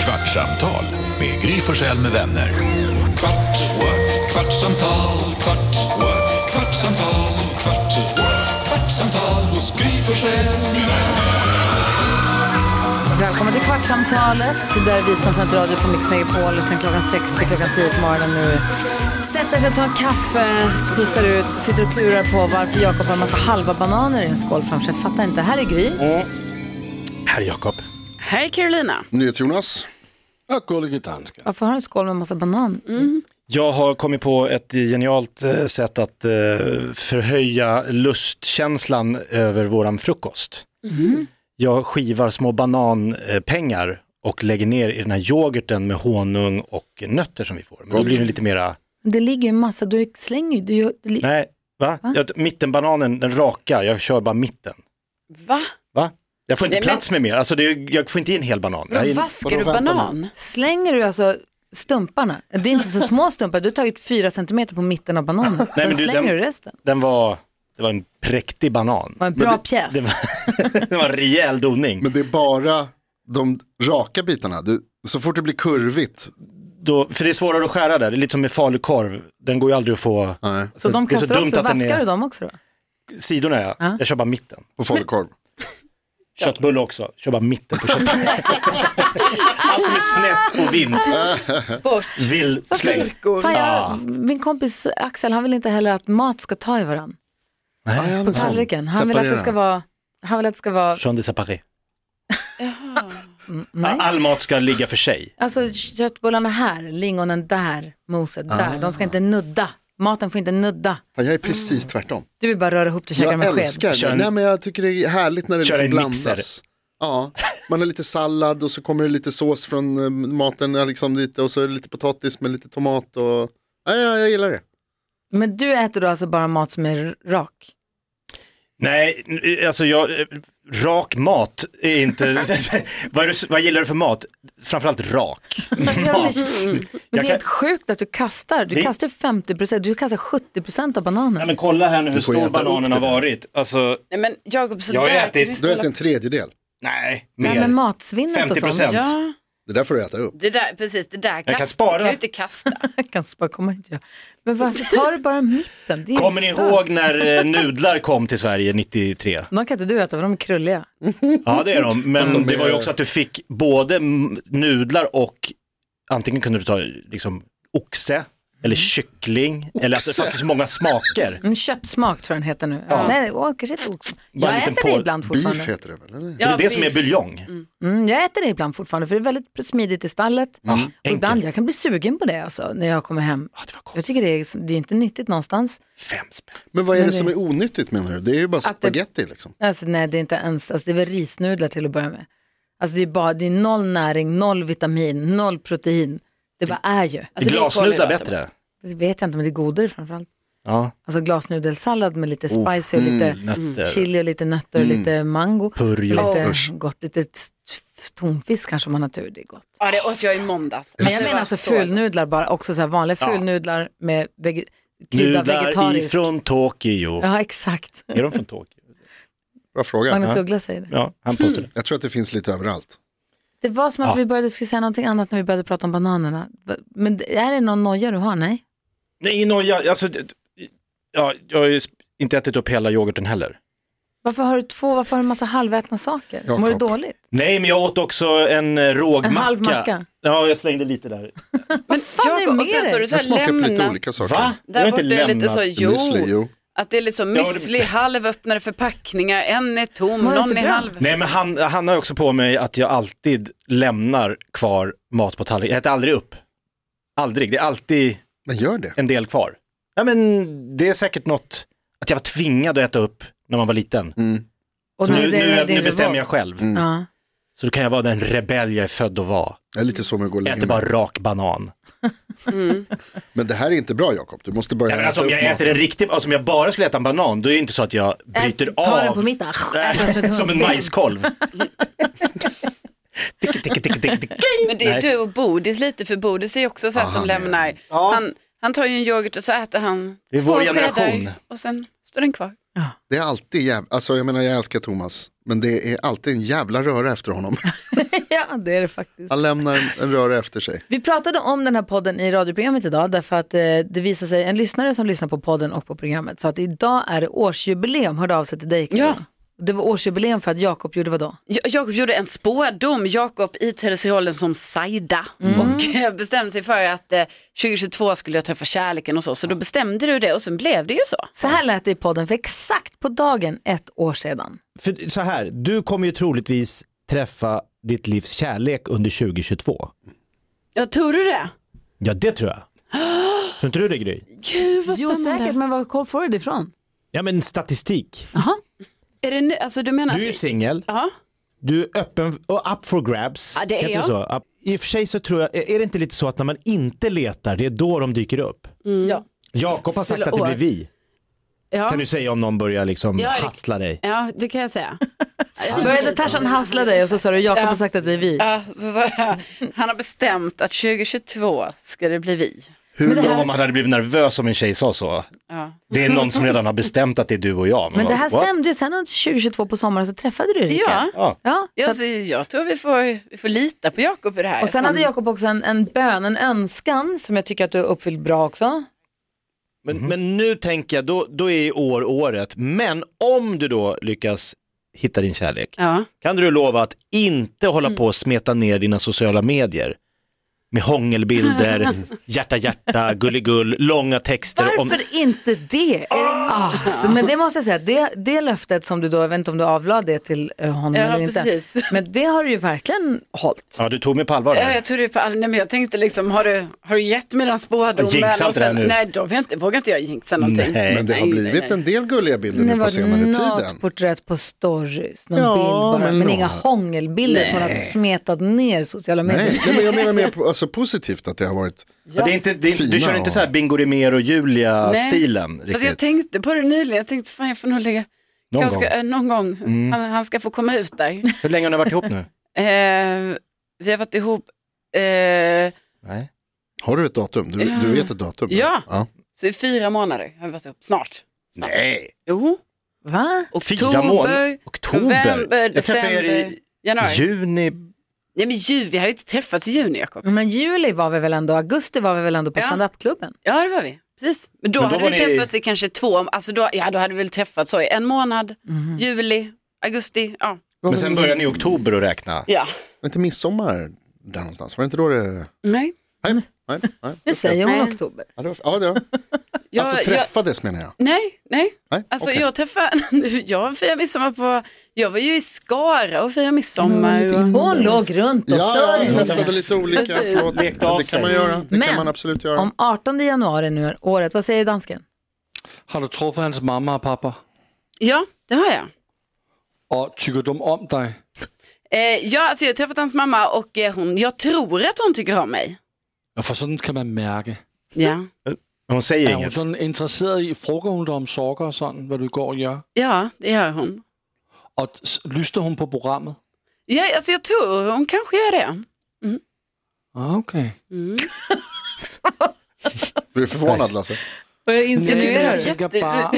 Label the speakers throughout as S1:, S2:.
S1: Kvartsamtal med Gry Forssell med vänner. Kvart, what? kvartsamtal, kvart, what? kvartsamtal, kvart, what? kvartsamtal hos Gry Forssell med vänner.
S2: Välkommen till Kvartsamtalet där vi som har sänt radio på Mix Megapol sen klockan 6 till klockan 10 på morgonen nu sätter sig och tar en kaffe, pustar ut, sitter och klurar på varför Jakob har en massa halva bananer i en skål framför sig. Fattar inte. Här är Gry.
S3: Herr Jakob.
S4: Hej Carolina.
S5: NyhetsJonas.
S3: Ökologitanska.
S2: Varför har du en skål med en massa banan? Mm.
S6: Jag har kommit på ett genialt eh, sätt att eh, förhöja lustkänslan över våran frukost. Mm. Jag skivar små bananpengar och lägger ner i den här yoghurten med honung och nötter som vi får. Men då blir det lite mera,
S2: Det ligger ju en massa, du slänger ju, du gör, det li-
S6: nej, va? Jag, mittenbananen, den raka, jag kör bara mitten.
S4: Va?
S6: Va? Jag får inte
S4: Nej, men-
S6: plats med mer, alltså det, är- jag får inte in en hel banan. Jag är-
S4: Men vaskar
S5: Vadå,
S4: du
S5: vänta nu?
S4: banan?
S2: slänger du alltså stumparna? Det är inte så små stumpar, du har tagit fyra centimeter på mitten av bananen. Sen
S6: men du,
S2: slänger
S6: den-
S2: du resten.
S6: Den var, det var en präktig banan.
S2: Det var en bra pjäs.
S6: Det var, det var en rejäl doning.
S5: Men det är bara de raka bitarna. Du, så fort det blir kurvigt.
S6: då, för det är svårare att skära där, det är lite som med falukorv, den går ju aldrig att få.
S5: Nej,
S2: Så de
S6: det är så
S2: kastar
S6: dumt
S2: också,
S6: att den
S2: vaskar
S6: är-
S2: du dem också då?
S6: Sidorna ja,
S2: Ja.
S6: jag kör bara mitten.
S5: på falukorv.
S6: Köttbulle också, kör bara mitten på köttbullen. Allt som är snett och vint, vill släng.
S2: Fan,
S6: Ah.
S2: jag, min kompis Axel, han vill inte heller att mat ska ta i varandra
S5: Nej,
S2: på tallriken. Han vill, att det ska vara, han vill att det ska vara,
S6: Jean de Separé.
S2: nej.
S6: Mm, All mat ska ligga för sig.
S2: Alltså köttbullarna här, lingonen där, moset
S6: Ah.
S2: där. De ska inte nudda. Maten får inte nudda.
S5: Fan, jag är precis tvärtom.
S2: Du vill bara röra ihop det och Mm. käka med
S5: Jag
S2: sked.
S5: älskar
S6: Kör
S5: det.
S6: en-
S5: Nej, men jag tycker det är härligt när det
S6: Kör
S5: liksom
S6: en mixer.
S5: blandas. Ja, man har lite sallad och så kommer det lite sås från eh, maten ja, liksom lite, och så är det lite potatis med lite tomat. Och... Ja, ja, jag gillar det.
S2: Men du äter då alltså bara mat som är rak?
S6: Nej, alltså jag, rak mat är inte, vad, är det, vad gillar du för mat? Framförallt rak.
S2: Men det
S6: Mat.
S2: Men
S6: Jag
S2: det är
S6: kan-
S2: helt sjukt att du kastar. Du
S6: Det-
S2: kastar 50%, du kastar 70% av
S6: Nej,
S2: bananen.
S6: men kolla här nu hur
S5: får äta
S6: stor
S5: upp
S6: bananen
S5: det
S6: har
S5: där.
S6: varit. Alltså,
S4: Nej men Jakob, så
S6: Jag har
S4: där kan
S6: ätit.
S4: inte
S5: Du
S4: hålla-
S5: äter en tredjedel.
S6: nej,
S2: Nej, men
S6: mer.
S2: matsvinnet och sånt.
S6: 50%.
S4: Ja,
S5: Det där får du äta upp.
S4: det där, precis det där
S6: kan
S4: kast,
S6: spara.
S4: kan du inte kasta.
S2: Jag kan spara, kommer inte jag. Men varför tar du bara mitten? Det är
S6: Kommer ni
S2: helt stört.
S6: ihåg när eh, nudlar kom till Sverige 93?
S2: De kan inte du äta för de är krulliga.
S6: Mm. Ja det är de, men
S5: de
S6: det
S5: är-
S6: var ju också att du fick både m- nudlar och antingen kunde du ta liksom oxe eller kyckling, eller alltså, det fanns ju så många smaker.
S2: Mm, köttsmak tror jag den heter nu. Ja. Nej, åh, kanske inte oxsmak.
S6: Bara en
S2: Jag
S6: liten
S2: äter det
S6: pol-
S2: ibland fortfarande.
S5: Beef heter det väl? Eller?
S6: det
S4: Ja,
S6: är det som är
S4: beef.
S6: buljong.
S2: Mm, jag äter det ibland fortfarande för det är väldigt smidigt i stallet. och ibland,
S6: enkelt.
S2: jag kan bli sugen på det alltså, när jag kommer hem.
S6: Ja, det var gott.
S2: Jag tycker det är, liksom, det är inte nyttigt någonstans.
S6: Fem spänn.
S2: Alltså,
S5: Men vad är det
S2: det-
S5: som är onyttigt menar du? Det är ju bara
S2: Att det-
S5: spagetti liksom.
S2: Alltså, nej, det är inte ens, alltså, det är väl risnudlar till att börja med. Alltså, det, är bara, det är noll näring, noll vitamin, noll protein. Det bara är ju.
S6: Är
S4: Alltså, det är
S6: glasnudlar
S4: kolhydrater.
S6: bättre?
S2: Det vet jag inte, men det är godare framförallt.
S6: Ja,
S2: Alltså glasnudelsallad med lite spicy och lite
S6: mm, nötter. Mm.
S2: chili och lite nötter och lite mango.
S6: Purjo.
S2: Lite
S5: Usch.
S2: gott, lite st- tonfisk kanske om man har tur, det är gott.
S4: Ja, det åt jag i måndags.
S2: Men
S4: Det
S2: jag
S4: var
S2: menar alltså
S4: så-
S2: fulnudlar bara, också så här vanliga
S6: Ja.
S2: fulnudlar med vege- krydda
S6: Nudlar
S2: vegetariskt.
S6: ifrån Tokyo.
S2: Ja, exakt.
S6: Är de från Tokyo? Mm.
S5: Bra fråga.
S2: Magnus Uggla säger det.
S6: Ja, han påstår det.
S5: Jag tror att det finns lite överallt.
S2: Det var som att
S6: Ja.
S2: vi började skulle säga någonting annat när vi började prata om bananerna. Va- Men det- är det någon noja du har? Nej.
S6: Nej, ingen noja, alltså, det- ja, jag har ju sp- inte ätit upp hela yoghurten heller.
S2: Varför har du två, varför har du en massa halvätna saker?
S5: Jakob.
S2: Mår du dåligt?
S6: Nej, men jag åt också en eh, rågmacka.
S2: En halv macka.
S6: Ja, jag slängde lite där.
S4: Men
S2: fan är det
S4: Jakob,
S2: med
S4: och sen så
S2: dig?
S4: har du så
S5: Jag
S4: här
S5: smakar på lite
S4: lämnat.
S5: olika saker.
S6: Va? Jag har
S4: Där
S6: inte
S4: borta är lite
S6: lämnat
S4: så,
S5: Müsli,
S4: jo,
S5: jo.
S4: att det är liksom
S6: Ja, det-
S4: müsli, halvöppnade förpackningar, en är tom,
S2: Var det
S4: någon
S2: inte
S4: är
S2: bra?
S4: halv...
S6: Nej men han, han har också på mig att jag alltid lämnar kvar mat på tallriken. Jag äter aldrig upp. Aldrig, det är alltid
S5: Men gör det.
S6: en del kvar. Ja men det är säkert något att jag var tvingad att äta upp när man var liten.
S2: Och
S6: Så
S2: när
S6: nu,
S2: det-
S6: nu,
S2: det är
S6: nu bestämmer jag
S2: revolt.
S6: själv.
S2: Ja.
S6: Så då kan jag vara den rebell jag är född att vara.
S5: Jag är lite så med att gå och
S6: Jag
S5: lägga
S6: äter
S5: mig.
S6: bara rak banan.
S5: Men det här är inte bra Jakob. Du måste börja
S6: Ja, men alltså, om
S5: äta
S6: jag
S5: upp
S6: äter en riktig, alltså, om jag bara skulle äta en banan, då är det inte så att jag bryter
S2: Ät-
S6: av.
S2: Ta den på mitten, ät den som ett
S6: som en
S2: hundben.
S6: majskolv. Ticki, ticki, ticki, ticki, ticki.
S4: Men det är
S6: Nej. Ah,
S4: du och Bodis lite, för Bodis är ju också så här som lämnar. Han, han tar ju en yoghurt och så äter han
S6: Det är
S4: två
S6: vår
S4: skedar
S6: generation.
S4: och sen står den kvar.
S5: Det är alltid jävla, alltså jag menar jag älskar Thomas, men det är alltid en jävla röra efter honom.
S2: ja, det är det faktiskt.
S5: Han lämnar en, en röra efter sig.
S2: Vi pratade om den här podden i radioprogrammet idag därför att eh, det visade sig, en lyssnare som lyssnar på podden och på programmet sa att idag är det årsjubileum, hörde av sig till dig Karin.
S4: Ja.
S2: Det var årsjubileum för att Jakob gjorde vadå?
S4: Ja- Jakob gjorde en spådom, Jakob i Tereserollen som Saida
S2: Mm.
S4: och eh, bestämde sig för att eh, 2022 skulle jag träffa kärleken och så, så då bestämde du det och sen blev det ju så.
S2: Så här lät det i podden för exakt på dagen ett år sedan.
S6: För så här, du kommer ju troligtvis träffa ditt livs kärlek under 2022.
S4: Ja, tror du det?
S6: Ja, det tror jag. Tror inte du det Gry?
S4: Gud vad
S2: Jo
S4: spännande.
S2: säkert, men var får du det ifrån?
S6: Ja, men statistik.
S4: Är det nu, alltså du menar
S6: Du är ju
S4: att...
S6: singel,
S4: Ja,
S6: du är öppen och up for grabs.
S4: Ja, det är
S6: Heter
S4: jag.
S6: Så? Up- I och för sig så tror jag, är det inte lite så att när man inte letar, det är då de dyker upp?
S2: Ja.
S6: Jakob har sagt
S4: Mm. Fyller
S6: att det
S4: år.
S6: blir vi. Kan
S4: ja,
S6: du säga om någon börjar liksom
S4: Ja, det-
S6: hassla dig?
S4: ja, det kan jag säga.
S2: Började Tarzan hassla dig och så sa du Jakob har sagt att det är vi.
S4: Ja, så, så, han har bestämt att 2022 ska det bli vi.
S6: Hur här... om man hade blivit nervös om en tjej sa så.
S4: Ja.
S6: Det är någon som redan har bestämt att det är du och jag. Man
S2: Men det
S6: bara,
S2: här
S6: what?
S2: stämde ju, sen under 2022 på sommaren så träffade du Erika.
S4: Ja.
S6: Ja.
S2: Ja, så
S4: Ja,
S2: att,
S4: så jag tror vi får, vi får lita på Jakob i det här.
S2: och sen hade Jakob också en, en bön, en önskan som jag tycker att du har uppfyllt bra också.
S7: Men,
S6: Mhm.
S7: men nu tänker jag, då, då är i år året. Men om du då lyckas hitta din kärlek,
S4: Ja.
S6: Kan du lova att inte hålla på och smeta ner dina sociala medier med hångelbilder, hjärta hjärta, gulligull, långa texter om...
S2: Varför inte det? Är det... Ah, så, men det måste jag säga, det, det löftet som du då, jag vet inte om du avlade det till eh, honom
S4: Ja,
S2: eller inte.
S4: precis.
S2: Men det har du ju verkligen hållit.
S6: Ja, du tog mig på allvar
S4: Ja,
S6: där.
S4: jag tror det är på all... Nej, men jag tänkte liksom, har du, har du gett mig den spådomen?
S6: Jag jinxar inte det här nu.
S4: Nej, då vågar inte, vågar inte jag jinxa någonting.
S6: Nej.
S5: Men det har
S4: nej,
S5: blivit
S4: nej.
S5: en del gulliga bilder
S2: Det
S5: nu på
S2: var
S5: senare
S2: något
S5: tiden.
S2: porträtt på stories, någon
S5: Ja,
S2: bild bara, men,
S5: men nå-
S2: inga hångelbilder som man har smetat ner i sociala medier.
S5: Nej, nej, men jag menar mer på, alltså, positivt att det har varit.
S6: Ja, Det är inte, det är inte, du
S5: Fina
S6: kör inte
S5: och-
S6: så här Bingo Rimér och Julia-stilen
S4: Fast Alltså, jag
S6: riktigt.
S4: tänkte på det nyligen, jag tänkte fan jag får nog lägga,
S6: Någon
S4: jag
S6: gång. Mm.
S4: Ska, eh, någon gång. Han, han ska få komma ut där.
S6: Hur länge har ni varit ihop nu?
S4: eh, vi har varit ihop, eh,
S6: Nej.
S5: Har du ett datum? Du, du vet ett datum?
S4: Ja.
S5: ja.
S4: så i fyra månader har vi varit ihop, snart. snart.
S6: Nej.
S4: Jo,
S2: Va?
S6: Fyra månader? Oktober?
S4: november,
S6: jag träffade er
S4: december,
S6: i
S4: januari.
S6: juni.
S4: Nej men ju, vi hade inte träffats i juni Jakob.
S2: Men juli var vi väl ändå, augusti var vi väl ändå på
S4: Ja.
S2: standupklubben?
S4: Ja det var vi, precis. Men då,
S6: Men då
S4: hade
S6: var
S4: vi
S6: ni-
S4: träffats i kanske två, alltså då, ja då hade vi väl träffats så i en månad, juli, augusti, ja.
S5: Men
S6: Men sen började ni i oktober att räkna.
S4: Ja.
S5: Inte midsommar där någonstans? Var det inte då det...
S4: Nej.
S5: Nej, nej, nej.
S2: Nu säger hon
S4: Nej.
S2: oktober.
S5: Ja, det var... ja, det var...
S4: Jag,
S5: Alltså
S4: jag,
S5: träffades menar jag.
S4: nej, nej.
S5: Nej,
S4: Alltså
S5: okej.
S4: jag träffade, jag firade midsommar på, jag var ju i Skara och firade midsommar. och-
S2: Hon låg runt och
S5: Mm. Ja,
S2: störde
S5: jag
S2: inte.
S5: testade lite olika, förlåt.
S6: Lekte av
S5: Men Det
S6: sig.
S5: kan man göra, det
S2: Men-
S5: kan man absolut göra.
S2: Om 18 januari nu är året, vad säger dansken?
S8: Har du truffet hans mamma och pappa?
S4: Ja, det har jag.
S8: Och tycker de om dig?
S4: Eh, ja, alltså jag har träffat hans mamma och eh, hon, jag tror att hon tycker om mig.
S8: Ja, för sånt kan man märke.
S4: Ja,
S6: Hon säger
S8: Er hun
S6: inget.
S8: sådan interesseret i, frågar hun dig om sokker og sådan, hvad du går og gør?
S4: ja det gör hon.
S8: Og s- lyster hun på programmet?
S4: Ja, alltså jag tror hon kanske gör det. Mm.
S8: Ah, okay.
S5: Du är förvånad Lasse.
S2: Vad
S8: Jeg tænker,
S2: insinuerar
S8: jeg
S2: du?
S8: tænker bare,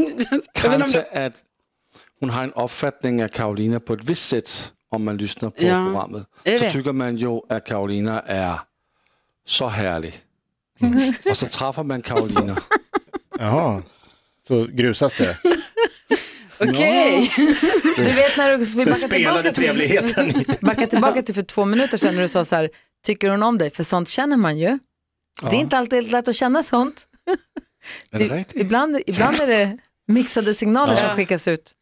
S8: kanskje, at hun har en opfattning af Karolina på et vist sæt, om man lyster på
S4: Ja,
S8: programmet.
S4: det
S8: Så
S4: ved jeg.
S8: tykker man jo, at Karolina er så herlig. og så træffer man Karolina.
S6: Jaha. Så grusas det.
S4: Okej.
S2: Du vet när du, så vi
S6: Den
S2: backar
S6: spelade
S2: tillbaka, till,
S6: trevligheten. i-
S2: backar tillbaka till för två minuter sedan när du sa så här, tycker hon om dig? För sånt känner man ju. Det är inte alltid helt lätt att känna sånt.
S8: Er det rigtigt?
S2: Ibland, ibland är det mixade signaler som skickas ut.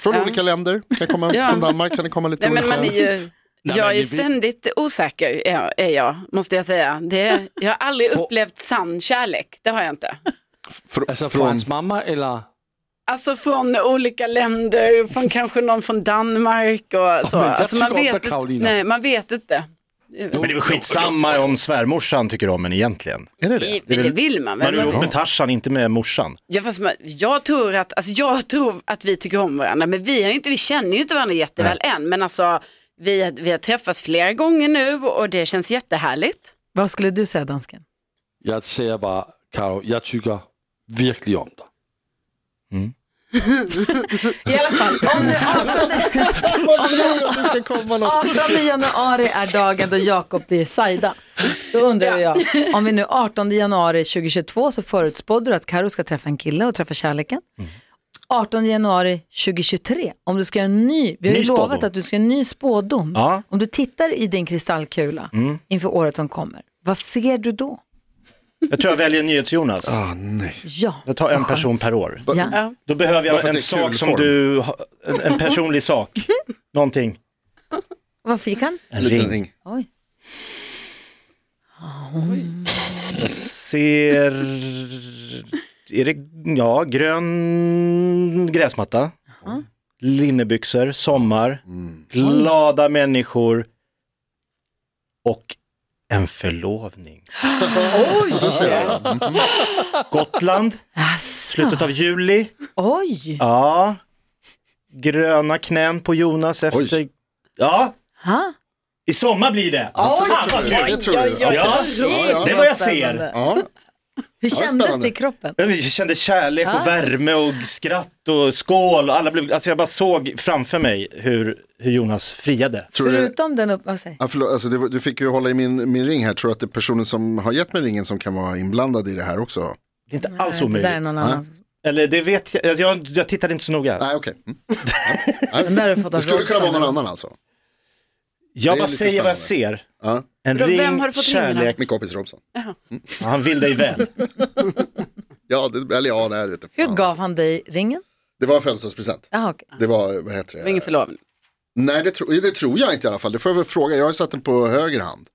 S5: Från olika länder, kan komma
S4: Ja.
S5: från Danmark kan det komma lite
S4: Nej, men
S5: olika.
S4: man är ju, jag är ju ständigt osäker, är jag- är jag, måste jag säga. Det, jag har aldrig upplevt sann kärlek, det har jag inte.
S5: Fr-
S8: Altså fra
S5: från...
S8: hans mamma, eller?
S4: Alltså från olika länder, från kanske någon från Danmark och så.
S8: men jag
S4: Alltså, man,
S8: tycker
S4: vet
S8: ofta
S4: inte-
S8: Karolina.
S4: nej, man vet inte.
S6: Men det är väl skitsamma om svärmorsan tycker om en egentligen.
S5: Är det det?
S4: I- Det vill man
S6: Man
S4: väl.
S6: är
S4: Men,
S6: ihop med Tarzan, inte med morsan.
S4: ja, fast man, jag, tror att, alltså, jag tror att vi tycker om varandra, men vi, har ju inte, vi känner ju inte varandra jätteväl än. Men alltså, vi, vi har träffats flera gånger nu och det känns jättehärligt.
S2: Vad skulle du säga dansken?
S8: Jeg siger bare, Karo, jeg tykker virkelig om dig.
S2: I alla fall, om nu 18,
S5: Vad tror du att det ska komma något?
S2: 18 januari är dagen då Jakob blir Saida. Då undrar jag, om vi nu 18 januari 2022 så förutspådde du att Karo ska träffa en kille och träffa kärleken.
S6: Mm.
S2: 18 januari 2023, om du ska göra en ny, vi har ju
S6: Ny
S2: lovat
S6: spådom.
S2: att du ska göra en ny spådom.
S6: Ja. Mm.
S2: Om du tittar i din kristallkula inför året som kommer, vad ser du då?
S6: Jag tror jag väljer NyhetsJonas.
S5: Ah,
S2: Ja,
S6: Jag tar en person per år.
S2: ja.
S6: Då behöver jag
S5: Bara för att
S6: en
S5: det är
S6: sak
S5: kul
S6: som
S5: form.
S6: du, har- en, en personlig sak. Någonting.
S2: Vad fick han?
S6: En
S5: Liten
S6: ring.
S5: ring.
S2: Oj.
S6: Jag ser, är det, ja, grön gräsmatta. Linnebyxor, sommar, glada människor och en förlovning.
S5: Så ser jag.
S6: Gotland,
S2: Jaså,
S6: slutet av juli.
S2: oj.
S6: Ja, gröna knän på Jonas efter...
S5: Oj.
S6: Ja,
S2: Ha?
S6: i sommar blir det. Fan vad kul!
S5: Det tror du?
S4: oj,
S5: Ja.
S6: Ja,
S5: ja.
S6: det är vad jag
S2: Spännande.
S6: ser.
S5: Ja.
S2: Hur
S5: det är
S2: kändes det
S5: spännande.
S2: i kroppen?
S6: Jag kände kärlek och värme och skratt och skål. Och alla blev, alltså jag bara såg framför mig hur, hur Jonas friade.
S5: Tror du,
S2: Förutom den upp... Vad säger
S5: ja, förlåt, alltså, det var- du fick ju hålla i min, min ring här. Tror du att det är personen som har gett mig ringen som kan vara inblandad i det här också?
S6: Det är inte
S5: Alltså,
S6: alls
S2: Nej, Det där är
S6: omöjligt.
S2: någon annan.
S6: Eller det vet jag, alltså jag, jag tittade inte så noga.
S5: Nej, okej. Mm.
S2: Den där har du fått av
S5: Det skulle
S2: Rolf
S5: kunna vara någon
S2: Sandberg.
S5: annan alltså.
S6: Jag
S5: det är
S6: bara
S5: lite
S6: säger vad jag
S5: spännande.
S6: ser.
S5: Ja.
S6: En
S4: Då, vem
S6: ring,
S4: har du fått ringen
S6: kärlek.
S5: Min kompis Robson.
S6: Han vill dig väl.
S5: Ja, det, eller ja, nej, jag vet inte.
S2: Hur
S5: Fan,
S2: gav
S5: alltså.
S2: han dig ringen?
S5: Det var en födelsedagspresent.
S2: Jaha, okej.
S5: Det var, vad heter
S4: Det
S5: det?
S4: var ingen förlovning.
S5: Nej, det, tro, det tror jag inte i alla fall. Det får jag väl fråga. Jag har ju satt den på höger hand.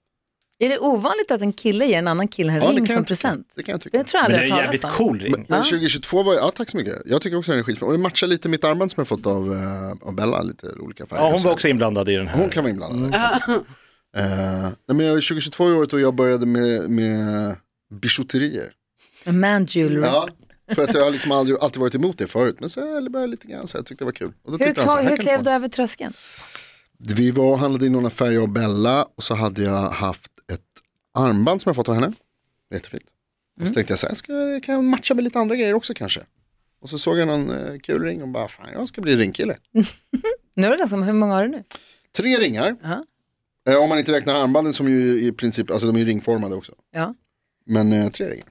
S2: Är det ovanligt att en kille ger en annan kille en
S5: Ja, det
S2: ring
S5: kan jag
S2: som
S5: tycka.
S2: present?
S5: Det kan jag tycka.
S2: Det tror jag
S6: Men det
S2: aldrig
S6: är en
S2: jag har hört
S6: jävligt
S2: talas om.
S6: cool ring.
S5: Men 2022 var, ja tack så mycket. Jag tycker också den är skitfin. Och det matchar lite mitt armband som jag fått av, eh, av Bella, lite olika färger.
S6: Ja, hon
S5: Så
S6: var
S5: här.
S6: också inblandad i den här.
S5: hon kan vara inblandad. Eh, nej, men jag är 2022 i året och jag började med, med bijouterier.
S2: En Man jewelry.
S5: Ja, för att jag har liksom aldrig, alltid varit emot det förut. Men så jag började lite grann så jag tyckte det var kul. Och då
S2: Hur,
S5: tyckte han så här,
S2: hur
S5: här kan
S2: klev
S5: få
S2: du över tröskeln?
S5: Vi var och handlade i några färger av Bella och så hade jag haft ett armband som jag fått av henne. Jättefint. Och
S2: Mm.
S5: så tänkte jag så här, ska, kan jag matcha med lite andra grejer också kanske? Och så såg jag någon eh, kul ring och bara, fan jag ska bli ringkille.
S2: Nu är det ganska, hur många har du nu?
S5: Tre ringar,
S2: Ja.
S5: eh, om man inte räknar armbanden som ju i princip, alltså de är ju ringformade också.
S2: Ja.
S5: Men eh, tre ringar.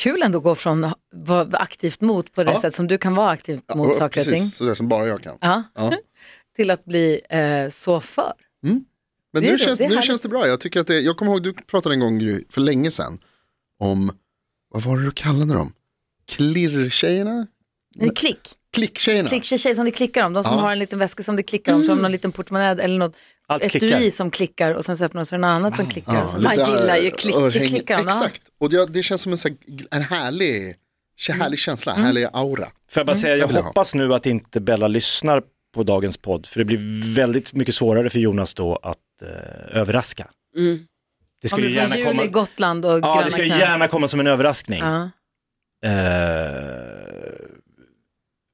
S2: Kul ändå att gå från att vara aktivt mot på det
S5: Ja.
S2: sätt som du kan vara aktivt mot
S5: och,
S2: saker och ting.
S5: precis, sådär som bara jag kan.
S2: Ja.
S5: Ja.
S2: Till att bli eh, så för.
S5: Men
S2: Det är
S5: nu,
S2: det,
S5: känns,
S2: det är
S5: nu
S2: härligt.
S5: känns det bra. Jag, tycker att det, jag kommer ihåg, du pratade en gång Gry, för länge sedan om, vad var det du kallade dem? Klirrtjejerna?
S2: En klick.
S5: Klicktjejerna?
S2: klick tjej som det klickar om. De som
S5: Ja.
S2: har en liten väska som det klickar om. Som någon liten portmonnä eller något
S6: Allt
S2: etui
S6: klickar.
S2: som klickar och sen så öppnar de sig en annat som klickar. och sen-
S5: lite
S4: Man gillar ju
S5: ö-
S4: klick-
S5: örhängen.
S2: klickar, va?
S5: Exakt, och det, det känns som en, så här, gl- en härlig, kä- härlig känsla,
S4: Mm.
S5: härlig aura.
S6: Får jag bara säga, jag
S5: vill ha.
S6: hoppas nu att inte Bella lyssnar på dagens podd, för det blir väldigt mycket svårare för Jonas då att eh, överraska.
S4: Mm.
S6: Det
S2: Om
S6: skulle
S2: det
S6: ju
S2: ska vara
S6: gärna
S2: jul i
S6: komma,
S2: Gotland och
S6: ja,
S2: gröna
S6: det ska ju
S2: knän.
S6: gärna komma som en överraskning.
S2: Ja.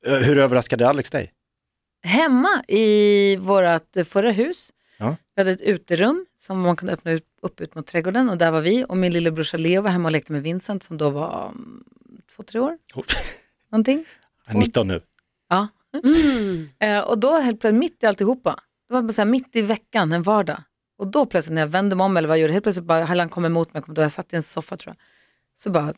S6: Eh, hur överraskade Alex dig?
S2: Hemma i vårt förra hus,
S6: Ja.
S2: vi hade ett uterum som man kunde öppna ut, upp ut mot trädgården och där var vi och min lillebrorsa Leo var hemma och lekte med Vincent som då var mm, två, tre år någonting.
S6: Han är 19 nu.
S2: Ja.
S6: Mm.
S2: Eh, och då helt plötsligt, mitt i alltihopa, det var bara så här, mitt i veckan, en vardag. Och då plötsligt när jag vände mig om eller vad jag gjorde, helt plötsligt bara, hade han kom emot mig, jag kommer inte ihåg, jag satt i en soffa tror jag. Så bara,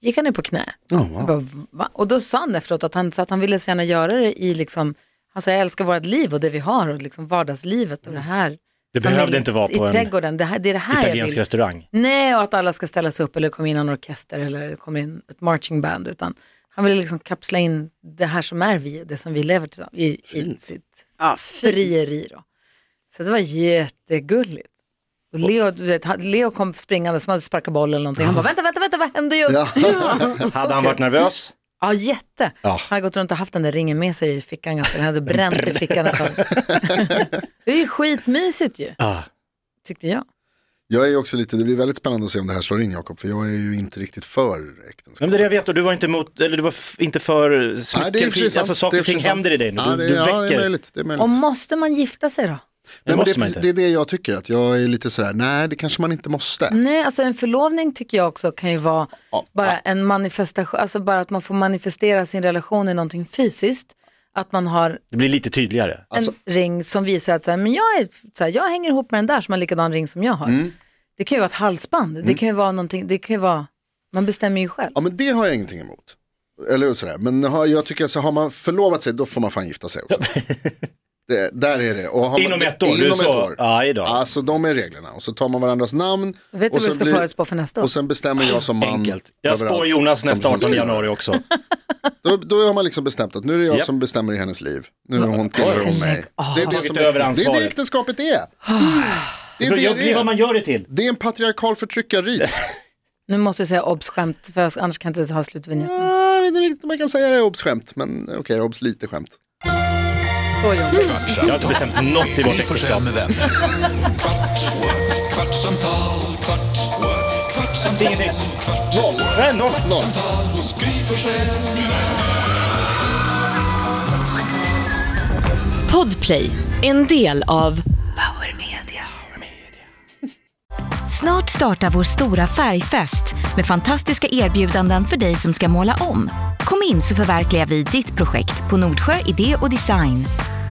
S2: gick han ner på knä.
S5: Oh,
S2: Jag bara, va? Och då sa han efteråt att han, så att han ville så gärna göra det i liksom, han sa jag älskar vårt liv och det vi har och liksom vardagslivet och det här.
S6: Det behövde
S2: Familj-
S6: inte vara
S2: I
S6: på en
S2: trädgården, det, här, det är det här jag
S6: italiensk
S2: vill.
S6: restaurang.
S2: Nej, och att alla ska ställa sig upp eller komma in en orkester eller det kommer in ett marching band. Utan han ville liksom kapsla in det här som är vi, det som vi lever tillsammans i, i sitt
S4: Ja, fy.
S2: frieri. Då. Så det var jättegulligt. Och Leo, du vet, han- Leo kom springande som hade sparkat boll eller någonting. Han bara, vänta, vänta, vänta, vad hände just?
S5: Ja.
S4: Mm.
S6: Hade han varit nervös?
S2: Ja, jätte.
S6: Ja.
S2: Han har gått runt och haft den där ringen med sig i fickan ganska länge. Han hade bränt i fickan ett tag. Det är ju skitmysigt ju,
S6: Ah.
S2: tyckte jag.
S5: Jag är också lite, det blir väldigt spännande att se om det här slår in Jakob, för jag är ju inte riktigt för äktenskap.
S6: Ja, men det är det jag vet och du var inte emot, eller du var f- inte för
S5: Nej, det är
S6: smycken,
S5: för sig sant.
S6: alltså saker
S5: Det är
S6: och
S5: för sig
S6: ting
S5: sant.
S6: händer i dig nu.
S5: Ja,
S6: Du,
S5: det,
S6: du
S5: ja, det är
S6: väcker.
S5: möjligt. Det är möjligt.
S2: Och måste man gifta sig då?
S5: Nej, men
S6: måste
S5: det,
S6: man
S5: är-
S6: inte.
S5: det är det jag tycker, att jag är lite sådär, nej det kanske man inte måste.
S2: Nej, alltså en förlovning tycker jag också kan ju vara bara en manifestation, alltså bara att man får manifestera sin relation i någonting fysiskt. Att man har
S6: Det blir lite tydligare.
S5: Alltså-
S2: en ring som visar att så här, men jag, är, så här, jag hänger ihop med den där som har likadan ring som jag har.
S5: Mm.
S2: Det kan ju vara ett halsband, det kan ju vara någonting, det kan ju vara, man bestämmer ju själv.
S5: Ja men det har jag ingenting emot. Eller hur, sådär. Men har, jag tycker så har man förlovat sig då får man fan gifta sig också. det, där är det. Och har man,
S6: Inom ett år, det är
S5: Inom ett
S6: så.
S5: år.
S6: Ja, idag.
S5: Alltså de är reglerna. Och så tar man varandras namn.
S2: Vet du
S5: och
S2: vad
S5: så
S2: du ska
S5: blir-
S2: förutspå för nästa år?
S5: Och sen bestämmer jag som man.
S6: Enkelt. Jag
S5: överallt
S6: spår Jonas
S5: som
S6: nästa
S5: hon ska
S6: 18
S5: göra.
S6: januari också.
S5: Då, då har man liksom bestämt att nu är det jag
S6: Japp.
S5: som bestämmer i hennes liv. Nu är hon tillhör hon mig. Det är det,
S6: över
S5: som äktenskap- det, är det
S6: ansvaret.
S5: äktenskapet är. Det är,
S6: Jag
S5: det,
S6: blir
S5: det,
S6: vad
S5: är.
S6: man gör det till.
S5: det är en patriarkal förtryckarrit.
S2: Nu måste du säga obs-skämt, för jag- annars kan jag inte ha slutvinjetten.
S5: Jag vet inte riktigt om man kan säga det är obs-skämt, men okej, det är obs lite skämt.
S2: Så jobbigt.
S6: Jag har inte bestämt något i vårt
S1: Gry Forssell
S6: äktenskap.
S1: med vänner. Kvart, what? kvartsamtal, kvart, what? kvartsamtal,
S6: Ingenting.
S1: kvart,
S6: Noll. Nej, noll. noll.
S1: kvartsamtal hos Gry Forssell med vänner.
S9: Podplay, en del av Power Media. Snart startar vår stora färgfest med fantastiska erbjudanden för dig som ska måla om. Kom in så förverkligar vi ditt projekt på Nordsjö Idé och Design.